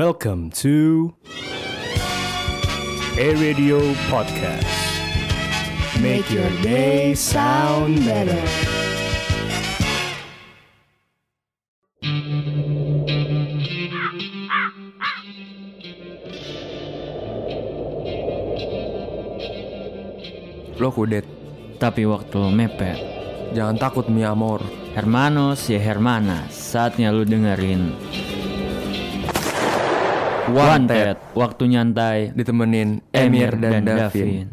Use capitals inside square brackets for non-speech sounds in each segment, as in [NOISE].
Welcome to A Radio Podcast. Make your day sound better. Lo kudet, Tapi waktu lo mepet jangan takut mi amor. Hermanos ya Hermana Saatnya lu dengerin Wanted Waktu nyantai Ditemenin Emir dan, Davin.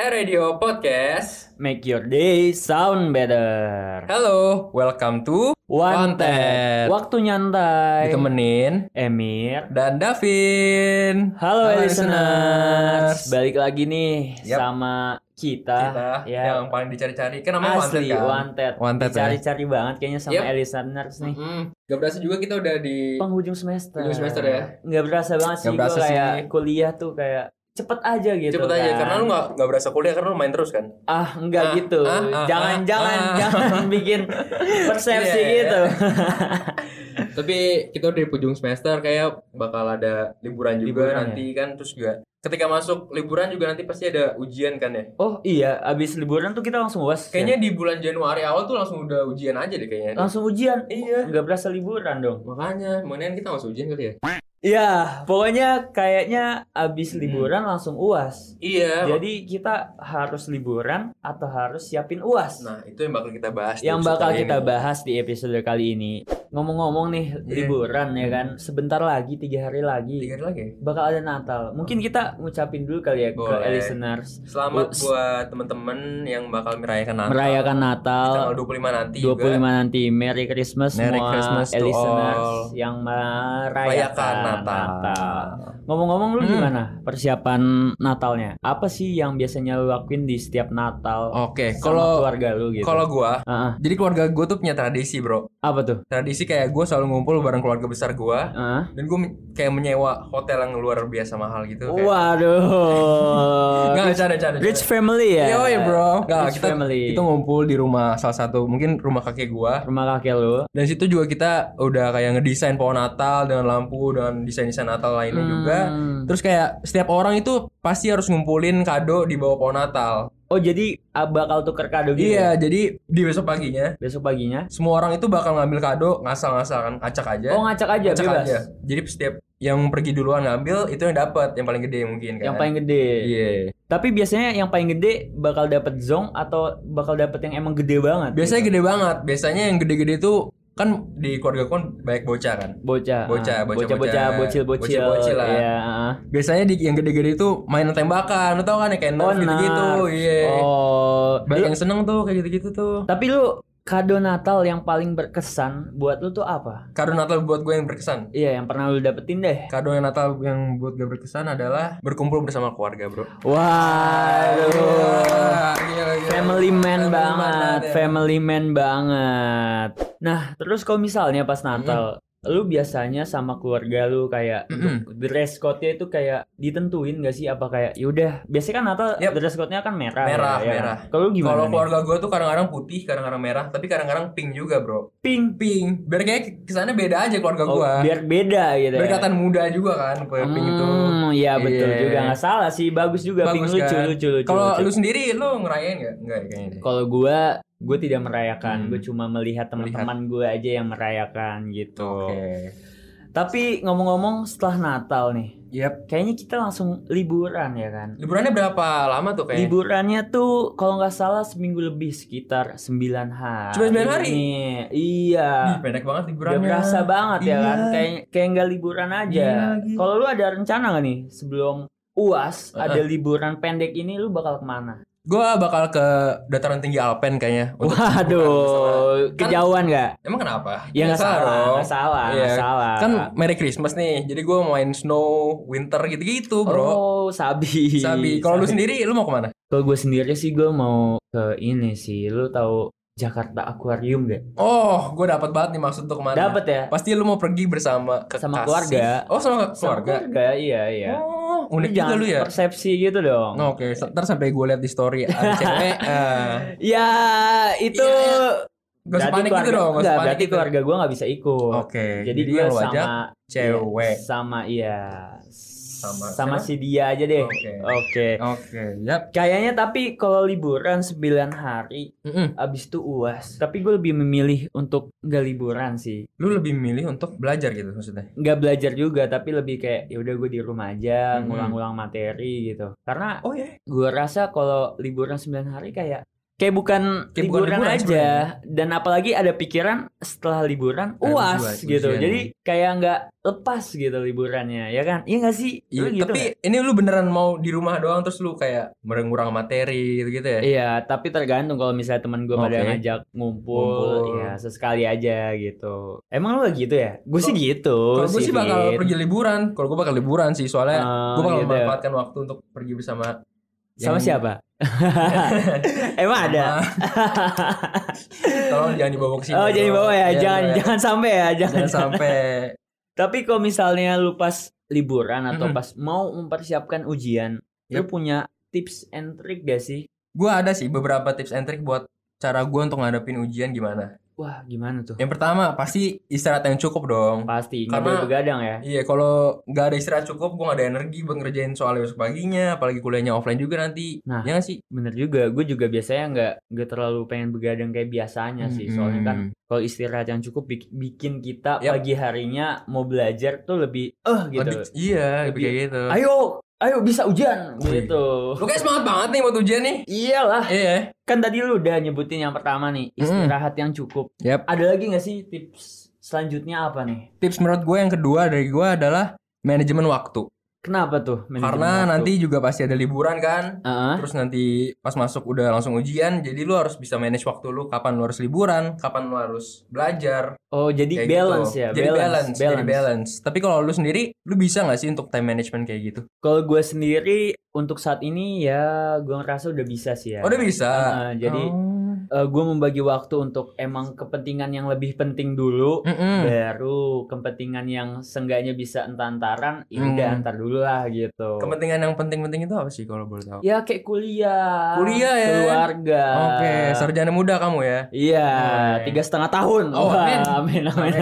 Eh Radio Podcast. Make your day sound better Halo, welcome to Wanted Waktu nyantai ditemenin Emir dan Davin. Halo, listeners Balik lagi nih Yap. sama kita, Kita ya. yang paling dicari-cari kan namanya Asli Wanted kan. wanted, Wanted, ya. Dicari-cari banget kayaknya sama Yep. listeners nih Mm, Gak berasa juga kita udah di penghujung semester. Penghujung semester ya? Nggak berasa banget sih Nggak berasa gua kayak sih. kuliah tuh kayak cepet aja gitu. cepet kan. aja karena lu gak, nggak berasa kuliah karena lu main terus kan. ah nggak Ah, gitu. ah, ah, jangan ah, jangan ah. [LAUGHS] jangan bikin persepsi Iya, iya. gitu. [LAUGHS] Tapi kita udah di ujung semester kayak bakal ada liburan juga Liburan, nanti kan terus juga ketika masuk liburan juga nanti pasti ada ujian kan ya. oh iya, abis liburan tuh kita langsung ya? uas. Kayaknya di bulan Januari awal tuh langsung udah ujian aja deh ya. kayaknya. langsung ujian. Iya. Nggak berasa liburan dong. Makanya, mendingan kita langsung ujian kali ya. Iya, pokoknya kayaknya abis Hmm. liburan langsung uas. Iya. Jadi kita harus liburan atau harus siapin uas. Nah, itu yang bakal kita bahas. di yang episode bakal kali kita ini. bahas di episode kali ini. Ngomong-ngomong nih liburan ya kan, sebentar lagi tiga hari lagi Iya. Hmm. Tiga hari lagi. ya? bakal ada Natal. Mungkin kita ngucapin dulu kali ya ke Boleh. listeners Selamat Ups. buat teman-teman yang bakal merayakan Natal. merayakan Di Natal. tanggal 25 nanti 25 juga. nanti Merry Christmas Merry semua Christmas to listeners all. yang Merayakan merayakan Natal. Natal. Ngomong-ngomong lu Hmm. gimana persiapan Natalnya? Apa sih yang biasanya lu lakuin di setiap Natal Oke, sama kalau keluarga lu gitu? kalau gua, Ah, ah. jadi keluarga gua tuh punya tradisi, Bro. apa tuh? Tradisi kayak gua selalu ngumpul bareng keluarga besar gua Ah. dan gua men- kayak menyewa hotel yang luar biasa mahal gitu kayak. [LAUGHS] Waduh. Enggak, canda, canda, canda. Rich family ya. Yoi, bro. Nggak, Rich kita family. kita ngumpul di rumah salah satu mungkin rumah kakek gua. rumah kakek lu. Dan situ juga kita udah kayak ngedesain pohon Natal dengan lampu dan desain-desain Natal lainnya juga. Hmm. Terus kayak setiap orang itu pasti harus ngumpulin kado di bawah pohon Natal. Oh jadi ah, bakal tuker kado gitu. ya? Iya, jadi di besok paginya Besok paginya. semua orang itu bakal ngambil kado ngasal-ngasal kan acak aja. Oh ngacak aja acak bebas. aja. Jadi setiap yang pergi duluan ngambil itu yang dapat yang paling gede mungkin kan. Yang paling gede. Iya. Tapi biasanya yang paling gede bakal dapet zong atau bakal dapet yang emang gede banget. Biasanya gitu? gede banget. Biasanya yang gede-gede itu kan di keluarga ku kan banyak bocah kan. Bocah. Bocah, ah. bocah, bocah, bocah, bocah. bocil, bocil. Bocil-bocil lah. Iya. ah. Biasanya di yang gede-gede itu mainan tembakan, lu tau kan ya kayak nerf Oh, gitu-gitu. nerf. Iya. Oh. Banyak Lu- yang seneng tuh kayak gitu-gitu tuh. tapi lu kado Natal yang paling berkesan buat lu tuh apa? Kado Natal buat gue yang berkesan. Iya, yang pernah lu dapetin deh. Kado yang Natal yang buat gue berkesan adalah berkumpul bersama keluarga, bro. Iya, Waduh. Gila, gila. Family man Family banget, ya. family man banget. Nah, terus kalau misalnya pas Natal, lu biasanya sama keluarga lu kayak Mm-mm. dress code-nya itu kayak ditentuin gak sih apa kayak yaudah biasanya kan Natal Yep. dress code-nya kan merah. Merah, ya, ya kan? merah. Kalau lu gimana? Kalau nih? keluarga gue tuh kadang-kadang putih, kadang-kadang merah, tapi kadang-kadang pink juga, bro. pink. Pink. Biar kayak kesannya beda aja keluarga Oh, gue. biar beda gitu. ya. Berkatan muda juga kan, kalau pink itu. Hmm, iya betul Iya. juga nggak salah sih, bagus juga pink Bagus lucu, kan? lucu lucu. Kalau lucu. lu sendiri, lu ngerayain nggak? Nggak ya kayaknya. deh. Kalau gua, gue tidak merayakan, Hmm. gue cuma melihat teman-teman gue aja yang merayakan gitu. Oke. Tapi ngomong-ngomong setelah Natal nih, Yap. kayaknya kita langsung liburan ya kan? Liburannya berapa lama tuh kayaknya? Liburannya tuh kalau nggak salah seminggu lebih sekitar 9 hari. Cuma 9 hari? Nih, Ih, Iya. pendek banget liburannya. Udah berasa banget ya Iya. kan? Kayak kayak nggak liburan aja. Iya lagi. Kalau lu ada rencana nggak nih sebelum UAS Uh-uh. ada liburan pendek ini lu bakal kemana? Gue bakal ke dataran tinggi Alpen kayaknya. untuk liburan bersama. Waduh, Kan- kejauhan nggak? Emang kenapa? Ya nggak salah, nggak salah, Iya. nggak salah. Kan Merry Christmas nih. Jadi gue main snow, winter gitu-gitu, bro. Oh, sabi. Sabi, kalau lu Sabi. sendiri lu mau kemana? Kalau gue sendiri sih gue mau ke ini sih. Lu tahu Jakarta Aquarium gak? Oh, gue dapat banget nih maksud tuh kemana. Dapat ya? Pasti lu mau pergi bersama ke Sama keluarga. Oh, Sama sama keluarga. keluarga, iya iya. Oh, Lu unik juga jangan lu ya. persepsi gitu dong. Oh, [LAUGHS] Oke, okay. ntar sampai gue lihat di story ada cewek. eh, Ya itu Iya, Gak usah panik gitu dong, gak usah enggak, panik berarti gitu. keluarga gue nggak bisa ikut. Oke, Jadi, jadi gue yang lu sama ajak cewek. sama iya sama Sama sama siapa? si dia aja deh. Oke. Oke. Oke, yap. Kayaknya tapi kalau liburan 9 hari Mm-mm. abis itu uas. Tapi gue lebih memilih untuk nggak liburan sih. Lu lebih milih untuk belajar gitu maksudnya. Nggak belajar juga tapi lebih kayak ya udah gue di rumah aja Mhm. ngulang-ngulang materi gitu. Karena Oh ya. gue rasa kalau liburan 9 hari kayak kayak bukan Kayak bukan liburan, liburan aja dan apalagi ada pikiran setelah liburan Ada uas ujian, gitu ujian. jadi kayak nggak lepas gitu liburannya ya kan iya nggak sih Lu Iya, gitu tapi nggak? ini lu beneran mau di rumah doang terus lu kayak merengurang materi gitu-gitu ya? Iya, tapi tergantung kalau misalnya teman gue pada Oke. ngajak ngumpul, Ngumpul. ya sesekali aja gitu. Emang lu gak gitu ya? Gue sih gitu. Kalau gue sih bakal Fit. pergi liburan. Kalau gue bakal liburan sih, Eh, soalnya gue bakal gitu. memanfaatkan waktu untuk pergi bersama. sama yang- [LAUGHS] siapa? Emang ada. Tolong jangan dibawa ke sini. Oh, jadi bawa ya, Iya, jangan iya. jangan sampai ya, jangan. [LAUGHS] Jangan sampai. Tapi kalau misalnya lu pas liburan atau Mm-mm. pas mau mempersiapkan ujian, lu Yep. punya tips and trick gak sih? Gue ada sih beberapa tips and trick buat cara gue untuk ngadepin ujian gimana. Wah, gimana tuh? Yang pertama pasti istirahat yang cukup dong. Pasti nggak Karena- boleh begadang ya. Iya, kalau nggak ada istirahat cukup, gue nggak ada energi buat ngerjain soal besok paginya, apalagi kuliahnya offline juga nanti. Nah. ya nggak sih? Bener juga, gue juga biasanya nggak nggak terlalu pengen begadang kayak biasanya sih. Soalnya kan Mm-mm. kalau istirahat yang cukup bik- bikin kita Yap. pagi harinya mau belajar tuh lebih eh gitu. Lebih- iya, lebih Lebih- kayak gitu. Ayo, ayo bisa ujian Wih. gitu. Lu kayak semangat banget nih buat ujian nih. Iyalah, Iya. kan tadi lu udah nyebutin yang pertama nih, istirahat yang cukup. Yap. Ada lagi nggak sih tips selanjutnya apa nih? Tips menurut gue yang kedua dari gue adalah manajemen waktu. Kenapa tuh? manajemen Karena waktu? nanti juga pasti ada liburan kan. Heeh. Terus nanti pas masuk udah langsung ujian, jadi lu harus bisa manage waktu lu kapan lu harus liburan, kapan lu harus belajar. Oh jadi kayak balance gitu. ya Jadi balance, jadi balance. Tapi kalau lu sendiri, lu bisa nggak sih untuk time management kayak gitu? Kalau gue sendiri untuk saat ini ya gue ngerasa udah bisa sih ya Oh, udah bisa. Heeh, Jadi Oh. gue membagi waktu untuk emang kepentingan yang lebih penting dulu Mm-mm. Baru kepentingan yang seenggaknya bisa entar-entaran Ya Hmm. udah entar dulu lah gitu Kepentingan yang penting-penting itu apa sih kalau boleh tahu? Ya kayak kuliah Kuliah ya? Keluarga Oke, sarjana muda kamu ya. Iya Oke. tiga setengah tahun Oh, Wah, amin. amin, amin.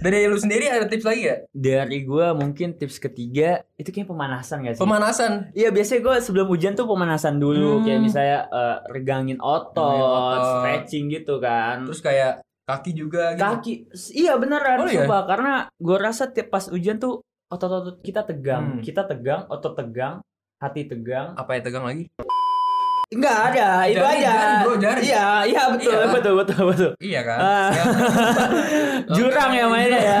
Dari lu sendiri ada tips lagi ya? [LAUGHS] Dari gue mungkin tips ketiga Itu kayak pemanasan gak sih? Pemanasan. Iya biasanya gue sebelum hujan tuh pemanasan dulu Hmm. kayak misalnya eh, regangin otot, Regangin otot. stretching gitu kan. Terus kayak kaki juga gitu. Kaki, s- iya beneran Oh, iya? sumpah. karena gue rasa tiap pas hujan tuh otot-otot kita tegang, Hmm. kita tegang, otot tegang, hati tegang. Apa ya tegang lagi? Enggak ada, itu Jari, aja. jari, bro, jari. Iya, iya betul, Iya. betul, betul, betul. Iya kan? Ah. [LAUGHS] Ya. Jurang ya mainnya Iya. ya.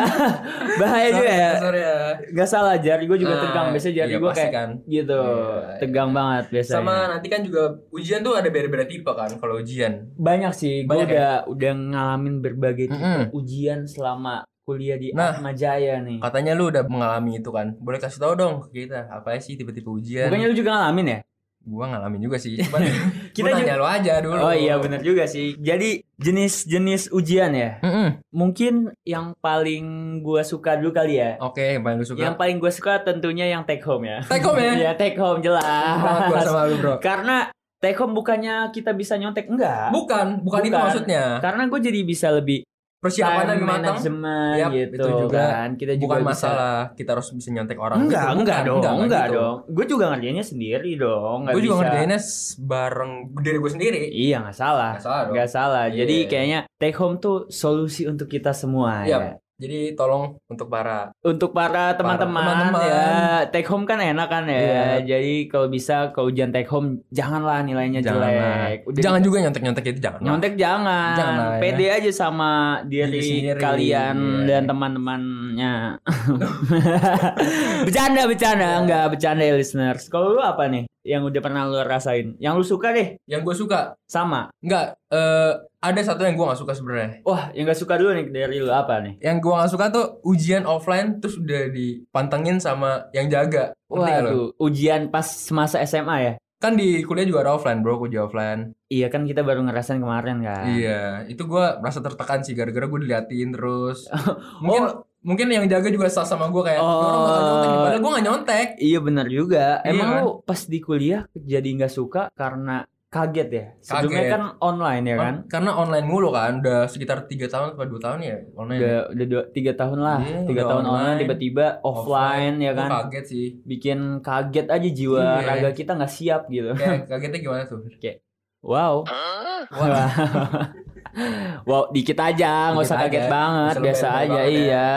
Bahaya Sorry, juga ya. sorry ya. Gak salah jari gue juga Ah, tegang, biasanya jari iya, gue pasti kayak kan. gitu, Iya, tegang banget biasanya. Sama nanti kan juga ujian tuh ada beda-beda tipe kan kalau ujian. banyak sih gue Banyak ya? udah udah ngalamin berbagai tipe Mm-mm. ujian selama kuliah di Nah. Atma Jaya nih Katanya lu udah mengalami itu kan. Boleh kasih tahu dong ke kita apa sih tipe-tipe ujian? bukannya lu juga ngalamin ya Gua ngalamin juga [LAUGHS] sih. Cuman Kita kita juga- nanya lu aja dulu. oh iya benar juga sih jadi jenis-jenis ujian ya Mm-mm. mungkin yang paling gue suka dulu kali ya Oke, yang paling lu suka. yang paling gue suka tentunya yang take home ya Take home ya. [LAUGHS] ya take home Banget gua jelas sama lu, [LAUGHS] Bro. karena take home bukannya kita bisa nyontek enggak Bukan, bukan, itu Bukan. maksudnya. karena gue jadi bisa lebih Persiapan time lebih matang. management Yap, gitu itu juga. kan kita juga Bukan bisa masalah kita harus bisa nyontek orang. enggak, gitu. enggak Bukan, dong, enggak, gitu. dong. Gue juga ngerjainnya sendiri dong. nggak Gue juga bisa. ngerjainnya s- bareng diri gue sendiri. Iya, nggak salah. Nggak salah dong. Nggak salah. Jadi Iya. kayaknya take home tuh solusi untuk kita semua Iya. ya. Jadi tolong untuk para Untuk para teman-teman teman-teman. Iya. ya, take home kan enak kan ya. Jadi kalau bisa kalau ujian take home janganlah nilainya jelek. jangan Udah gitu jangan juga nyontek-nyontek itu jangan. lah. nyontek jangan. Jangan, ya. Pede aja sama diri Diri sendiri, kalian iya. dan teman-temannya. [LAUGHS] bercanda bercanda Iya. enggak bercanda ya listeners. Kalau lu apa nih yang udah pernah lu rasain? Yang lu suka deh Yang gue suka sama. enggak eh, ada satu yang gue nggak suka sebenarnya. Wah, yang gak suka dulu nih dari lu apa nih? Yang gue nggak suka tuh ujian offline terus udah dipantengin sama yang jaga. Ngerti nggak lo? Waduh, ujian pas semasa SMA ya? Kan di kuliah juga ada offline, Bro, kuliah offline. Iya kan kita baru ngerasain kemarin kan. Iya, itu gue merasa tertekan sih gara-gara gue diliatin [LAUGHS] terus. Oh. mungkin mungkin yang jaga juga salah sama gue kayak "Ya "Ini orang bakal nyontek, nih." padahal gue nggak nyontek. Iya benar juga. Iya Emang kan? lu pas di kuliah jadi nggak suka karena kaget ya. Sebelumnya Kaget. kan online ya kan. Karena online mulu kan, udah sekitar 3 tahun atau 2 tahun ya online. Udah udah dua, tiga tahun lah, Iya, tiga udah tahun online, online. tiba-tiba offline, ya Gua kan. kaget sih. Bikin kaget aja jiwa Iya. raga kita nggak siap gitu. [LAUGHS] Kayak kagetnya gimana tuh? Wow. Wah. [LAUGHS] wow, dikit aja, nggak Dikit usah kaget aja. banget, Bisa biasa lebih aja, banget ya. iya.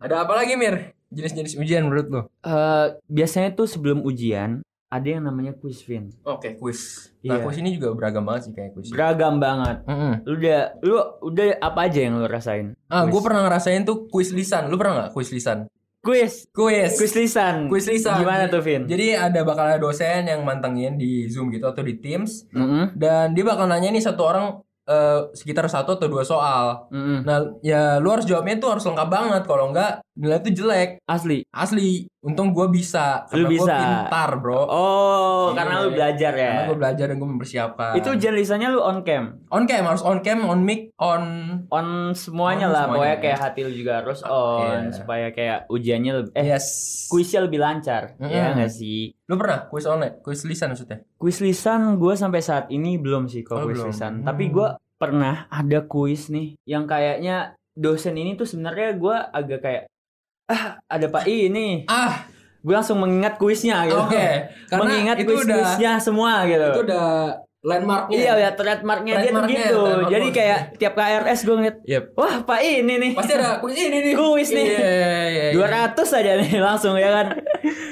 Ada apa lagi Mir? Jenis-jenis ujian menurut lo? Eh, biasanya tuh sebelum ujian ada yang namanya quiz Vin. Oke, kuis. Nah, Iya. kuis ini juga beragam banget sih kayak kuis. Beragam banget. Mm-mm. Lu udah lu udah apa aja yang lu rasain? Ah, gue Kuis. pernah ngerasain tuh kuis lisan. Lu pernah nggak kuis lisan? Quiz, Kuis. quiz lisan. Kuis lisan. Gimana tuh Vin? Jadi ada bakal ada dosen yang mantengin di Zoom gitu atau di Teams Mm-mm, dan dia bakal nanya nih satu orang eh, sekitar satu atau dua soal. mm-mm. Nah, ya lu harus jawabnya tuh harus lengkap banget kalau enggak nilai tuh jelek. Asli. Asli, untung gue bisa Lu karena gue bisa. pintar, Bro. Oh, Iya. karena lu belajar ya. Karena gue belajar dan gue mempersiapkan. Itu ujian lisannya lu on cam, on cam harus on cam, on mic, on on semuanya On lah. semuanya. ya. Pokoknya kayak hati lu juga harus on Iya. supaya kayak ujiannya lebih eh yes. kuisnya lebih lancar. Mm-mm. Ya nggak sih? Lu pernah kuis online, kuis lisan maksudnya? Kuis lisan gue sampai saat ini belum sih Oh, kalau kuis belum. lisan. Hmm. Tapi gue pernah ada kuis nih yang kayaknya dosen ini tuh sebenarnya gue agak kayak ah ada Pak I ini. Ah, Gue langsung mengingat kuisnya gitu. oke. Karena mengingat itu udah kuis-kuisnya semua gitu. itu udah landmarknya. Iya ya trademarknya dia tuh Trademarknya, gitu. trademark Jadi lu. kayak tiap KRS gue ngeliat, Yep. wah pak ini nih. Pasti [LAUGHS] ada kuis ini nih. Kuis nih. Iya, iya, iya. 200 aja nih [LAUGHS] langsung ya kan.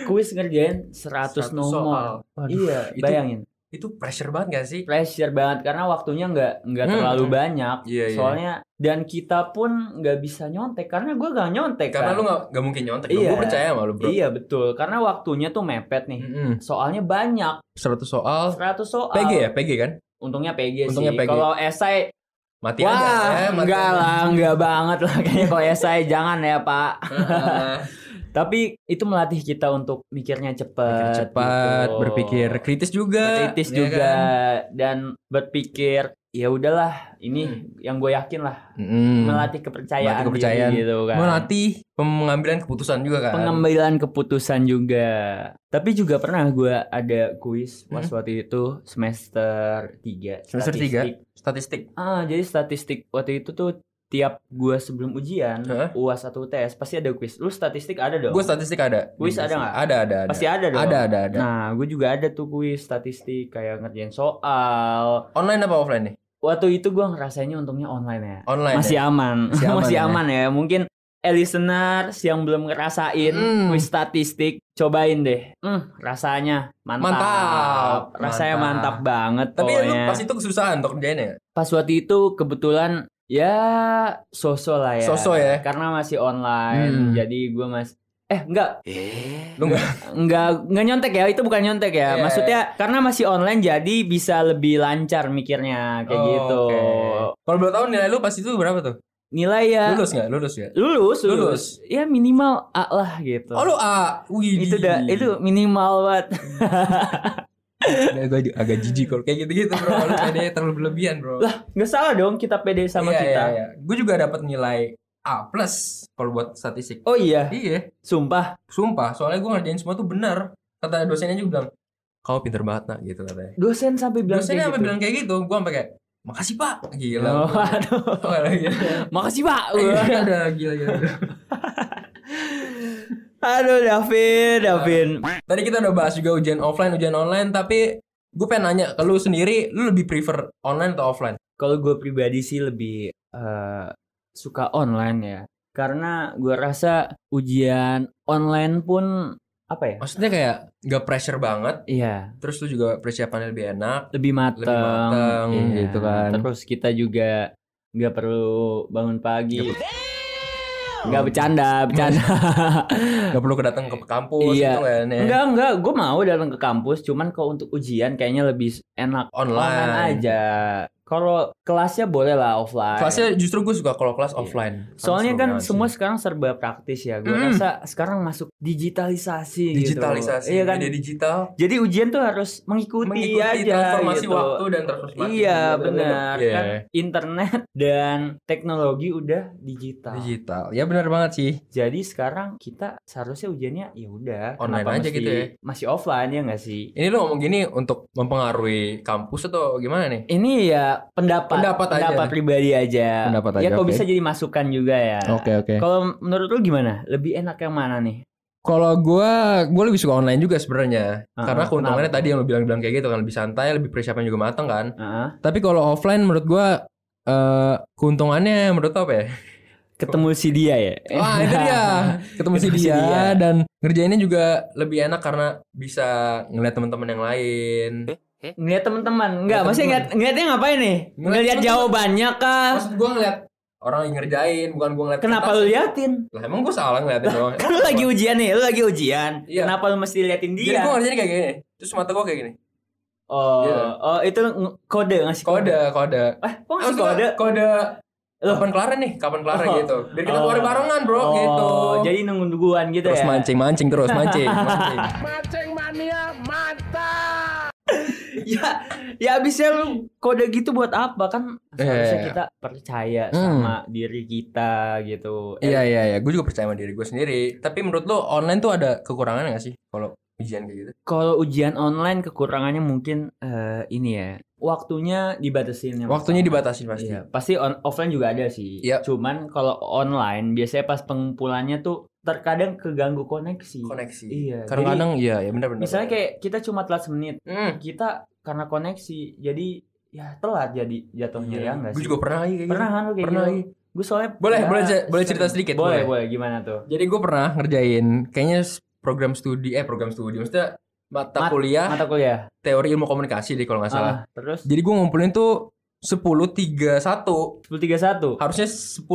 Kuis ngerjain 100, 100 soal. nomor. Waduh, iya, itu- bayangin. Itu pressure banget gak sih? Pressure banget karena waktunya nggak nggak Hmm. terlalu banyak. Iya, iya. Soalnya dan kita pun nggak bisa nyontek karena gue gak nyontek. kan. Karena lu gak, gak mungkin nyontek. Iya. Gue percaya sama lu, Bro. Iya betul karena waktunya tuh mepet nih. Mm-mm. Soalnya banyak 100 soal 100 soal. PG ya, PG kan? Untungnya PG Untungnya sih. PG. Kalau esai Mati Wah, aja. eh, mati enggak aja. lah, enggak banget lah [LAUGHS] kayaknya kalau ya saya jangan ya Pak. Heeh. Tapi itu melatih kita untuk mikirnya [LAUGHS] Berpikir cepat, cepat, gitu. berpikir kritis juga. kritis Iya juga kan? dan berpikir ya udahlah ini yang gue yakin lah Mm-mm. melatih kepercayaan, Hmm. Melatih kepercayaan. diri gitu kan. melatih pengambilan keputusan juga kan. pengambilan keputusan juga. Tapi juga pernah gue ada kuis pas Hmm. waktu itu semester 3 Semester tiga? Statistik. Ah, jadi statistik waktu itu tuh tiap gua sebelum ujian Heeh. UAS atau UTS pasti ada kuis. Lu statistik ada dong? Gue statistik ada. Kuis ada nggak? Ada ada ada. pasti ada dong. ada ada ada. Nah, gue juga ada tuh kuis statistik kayak ngerjain soal. Online apa offline nih? Waktu itu gua ngerasainnya untungnya online ya. Online. Masih ya? aman. Masih [LAUGHS] Masih aman aman, ya. ya. Mungkin eh listeners yang belum ngerasain Hmm. kuis statistik, cobain deh. Hmm, rasanya mantap. Mantap. Rasanya mantap, Mantap. banget Tapi lu pokoknya. pas itu kesusahan untuk kerjainnya. pas waktu itu kebetulan ya sosok lah ya. Sosok ya. Karena masih online. Hmm. Jadi gue mas eh enggak Lu nggak? enggak enggak nyontek ya itu bukan nyontek ya Iya. maksudnya karena masih online jadi bisa lebih lancar mikirnya kayak Oh, gitu oke. Kalau belum tahu nilai lu pas itu berapa tuh? nilai ya Lulus nggak? Lulus ya? lulus Lulus. lulus. ya minimal A lah gitu Oh lu A. Wih. itu dah itu minimal banget [LAUGHS] Gue agak jijik kalau kayak gitu-gitu bro. Lu PD terlalu berlebihan bro. nggak salah dong kita pede sama Iya, kita Iya, iya. Gue juga dapat nilai A plus kalau buat statistik. oh iya Iya. sumpah Sumpah, soalnya gue ngerjain semua tuh benar. Kata dosennya juga bilang, kau pinter banget nak gitu katanya. dosen sampai bilang dosennya kayak sampai gitu. bilang kayak gitu, gue sampai kayak, makasih pak. Gila. Oh, [LAUGHS] gua. [LAUGHS] aduh. Oh, gila, [LAUGHS] gila. makasih pak Iya, udah gila, gila, gila. Aduh Davin, Davin. Tadi kita udah bahas juga ujian offline, ujian online, tapi gue pengen nanya ke lu sendiri, lu lebih prefer online atau offline? Kalau gue pribadi sih lebih eh, suka online ya. Karena gue rasa ujian online pun apa ya? Maksudnya kayak gak pressure banget, Iya, terus lu juga persiapannya lebih enak. lebih mateng, Lebih mateng, Iya. gitu kan. Terus kita juga nggak perlu bangun pagi. Nggak bercanda, [LAUGHS] bercanda. Gak perlu kedatang ke kampus Iya. gitu kan ya. enggak, enggak, gue mau datang ke kampus, cuman kalau untuk ujian kayaknya lebih enak Online. online aja. Kalau kelasnya boleh lah offline. Kelasnya justru gue suka kalau kelas offline. Karena Soalnya seru kan banget sih. semua sekarang serba praktis ya. Gue Mm. rasa sekarang masuk digitalisasi gitu. digitalisasi, Iya kan? media digital, Jadi ujian tuh harus mengikuti, mengikuti aja transformasi gitu. waktu dan transformasi. Iya, budaya. benar. Iya. Kan internet dan teknologi udah digital. Digital. Ya benar banget sih. Jadi sekarang kita seharusnya ujiannya ya udah Online kenapa aja mesti- gitu ya. Masih offline ya nggak sih? Ini lu ngomong gini untuk mempengaruhi kampus atau gimana nih? Ini ya pendapat Pendapat aja. pribadi aja. Pendapat ya aja, kok oke. bisa jadi masukan juga ya. oke. Kalau menurut lu gimana? Lebih enak yang mana nih? Kalau gue, gue lebih suka online juga sebenarnya. Uh-uh, Karena keuntungannya kenapa? tadi yang lu bilang-bilang kayak gitu kan lebih santai, lebih persiapan juga matang kan. Heeh. Tapi kalau offline menurut gue eh keuntungannya menurut lu apa ya? Ketemu si dia ya. [LAUGHS] Wah itu dia Ketemu si Ketemu si dia, dia. Dan ngerjainnya juga lebih enak karena Bisa ngeliat teman-teman yang lain Eh? Ngeliat teman-teman. Enggak, Ngeliat maksudnya teman-teman. ngeliat, ngeliatnya ngapain nih? Ngeliat Ngeliat teman-teman. jawabannya kah? Maksud gue ngeliat orang yang ngerjain Bukan gue ngeliat Kenapa kertas. lu liatin? Lah emang gue salah ngeliatin doang Kan lu lagi ujian nih, lu lagi ujian. Iya. Kenapa lu mesti liatin Jadi dia? gue ngerjain kayak gini Terus mata gue kayak gini Oh, Iya. oh itu ng- kode ngasih kode. Kode Kode Eh, kok Ah, ngasih maksud gua, kode? Kode Loh. Kapan kelar nih Kapan kelar Oh. gitu Biar kita Oh. keluar barengan bro oh, gitu jadi nunggu-nungguan gitu Terus ya. mancing-mancing terus Mancing Mancing [LAUGHS] ya, ya abisnya lu kode gitu buat apa kan? Seharusnya Iya. kita percaya Hmm. sama diri kita gitu. Eh, Iya iya iya Gue juga percaya sama diri gue sendiri Tapi menurut lo online tuh ada kekurangan gak sih Kalau ujian kayak gitu Kalau ujian online kekurangannya mungkin eh, ini ya, waktunya dibatasin. yang Waktunya pertama. dibatasin pasti Iya, pasti on- offline juga ada sih. Iya. Cuman kalau online biasanya pas pengumpulannya tuh terkadang keganggu koneksi. koneksi. Iya, Kadang-kadang iya ya benar-benar. Misalnya kayak kita cuma telat semenit, Hmm. kita karena koneksi jadi ya telat jadi jatuhnya ya enggak Gue sih? Iya. juga pernah lagi kayak Pernah kan lu kayak Pernah gitu? lagi. Gue soalnya Boleh, ya, boleh ce- boleh cerita sering. sedikit, Boleh, boleh. boleh. Gimana tuh? Jadi gue pernah ngerjain kayaknya s- program studi eh program studi maksudnya mata Mat- kuliah Mata kuliah. teori ilmu komunikasi deh kalau nggak salah. Ah, terus Jadi gue ngumpulin tuh 10.31 1031. harusnya 10.30.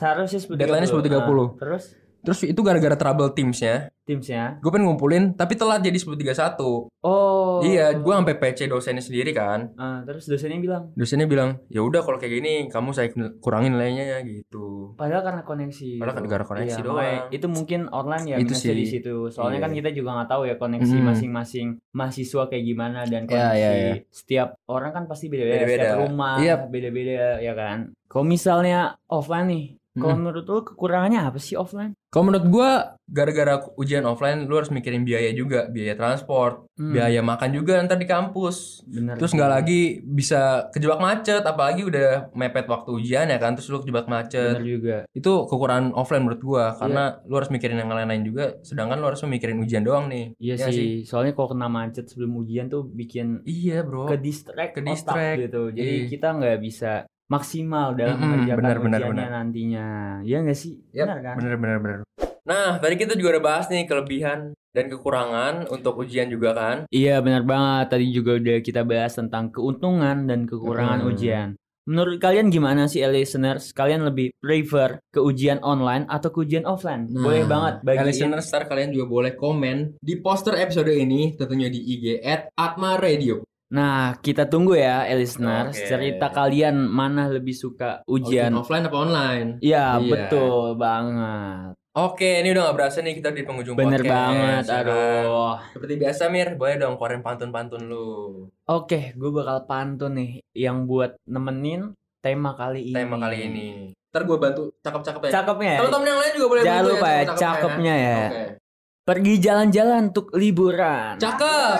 Seharusnya 10.30. Deadline-nya 10.30. Ah, terus Terus itu gara-gara trouble teamsnya timsnya. Gue pengen ngumpulin Tapi telat jadi 10.31 Oh. Iya gue sampai PC dosennya sendiri kan Ah, terus dosennya bilang, Dosennya bilang ya udah kalau kayak gini Kamu saya kurangin nilainya ya gitu padahal karena koneksi. Padahal kan gitu. gara-gara koneksi Iya, doang. makanya Itu mungkin online ya Itu minusnya sih. di situ. Soalnya Iya. kan kita juga nggak tahu ya koneksi Mm. masing-masing mahasiswa kayak gimana dan Iya, koneksi iya, iya. setiap orang kan pasti beda-beda, Beda-beda. setiap rumah Iya. beda-beda ya kan. Kalau misalnya offline nih, kalau Mm. menurut lu kekurangannya apa sih offline? Kalau menurut gua gara-gara ujian offline lu harus mikirin biaya juga, biaya transport, Hmm, biaya makan juga ntar di kampus. bener Terus nggak lagi bisa kejebak macet, apalagi udah mepet waktu ujian ya kan, terus lu kejebak macet. Bener Iya. juga. Itu kekurangan offline menurut gua karena lu harus mikirin yang lain-lain juga, sedangkan lu harus mikirin ujian doang nih. Iya Iya sih. Soalnya kalau kena macet sebelum ujian tuh bikin Iya, Bro. ke distract, Ke otak distract, gitu. Jadi iya. kita nggak bisa maksimal dalam Mm-mm, mengerjakan benar, benar, ujiannya nantinya. Iya nggak sih? Yap, Benar kan? Bener bener bener. Nah, tadi kita juga udah bahas nih kelebihan dan kekurangan untuk ujian juga kan. Iya benar banget. Tadi juga udah kita bahas tentang keuntungan dan kekurangan Mm. ujian. Menurut kalian gimana sih eh, listeners? Kalian lebih prefer ke ujian online atau ke ujian offline? Boleh banget bagi bagiin. Nah, listeners ntar kalian juga boleh komen di poster episode ini tentunya di IG at Atma Radio. Nah, kita tunggu ya eh, listeners. Oke. Cerita kalian mana lebih suka ujian? offline apa online? Iya, Iya. betul banget. Oke, ini udah gak berasa nih kita di penghujung Bener podcast. banget, ya kan? aduh. Seperti biasa Mir, boleh dong keluarin pantun-pantun lu. Oke, gue bakal pantun nih yang buat nemenin tema kali ini. Tema kali ini. Iya. Ntar gue bantu cakep-cakep ya. Cakepnya ya. Teman-teman yang lain juga boleh Jangan bantu lupa ya, cakep-cakepnya cakepnya ya. Oke. Pergi jalan-jalan untuk liburan. Cakep.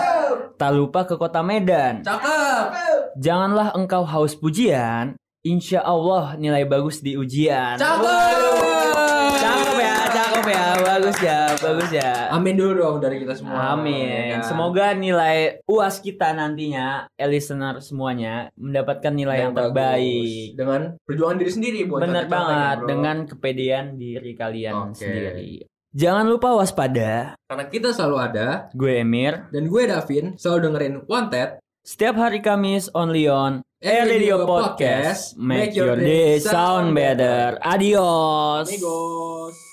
tak lupa ke kota Medan. Cakep. Janganlah engkau haus pujian. Insya Allah nilai bagus di ujian. Cakep. Cakep ya, cakep ya, bagus ya, bagus ya. Amin dulu dong dari kita semua. Amin. ya kan? Semoga nilai UAS kita nantinya, eh, listener semuanya mendapatkan nilai yang bagus. terbaik. dengan perjuangan diri sendiri buat Bener catat-catat ya, banget bro. dengan kepedean diri kalian Oke. sendiri. Jangan lupa waspada. karena kita selalu ada Gue Emir. dan gue Davin selalu dengerin Wanted Setiap hari Kamis only on Air Radio Podcast. Make your day sound better. Adios. amigos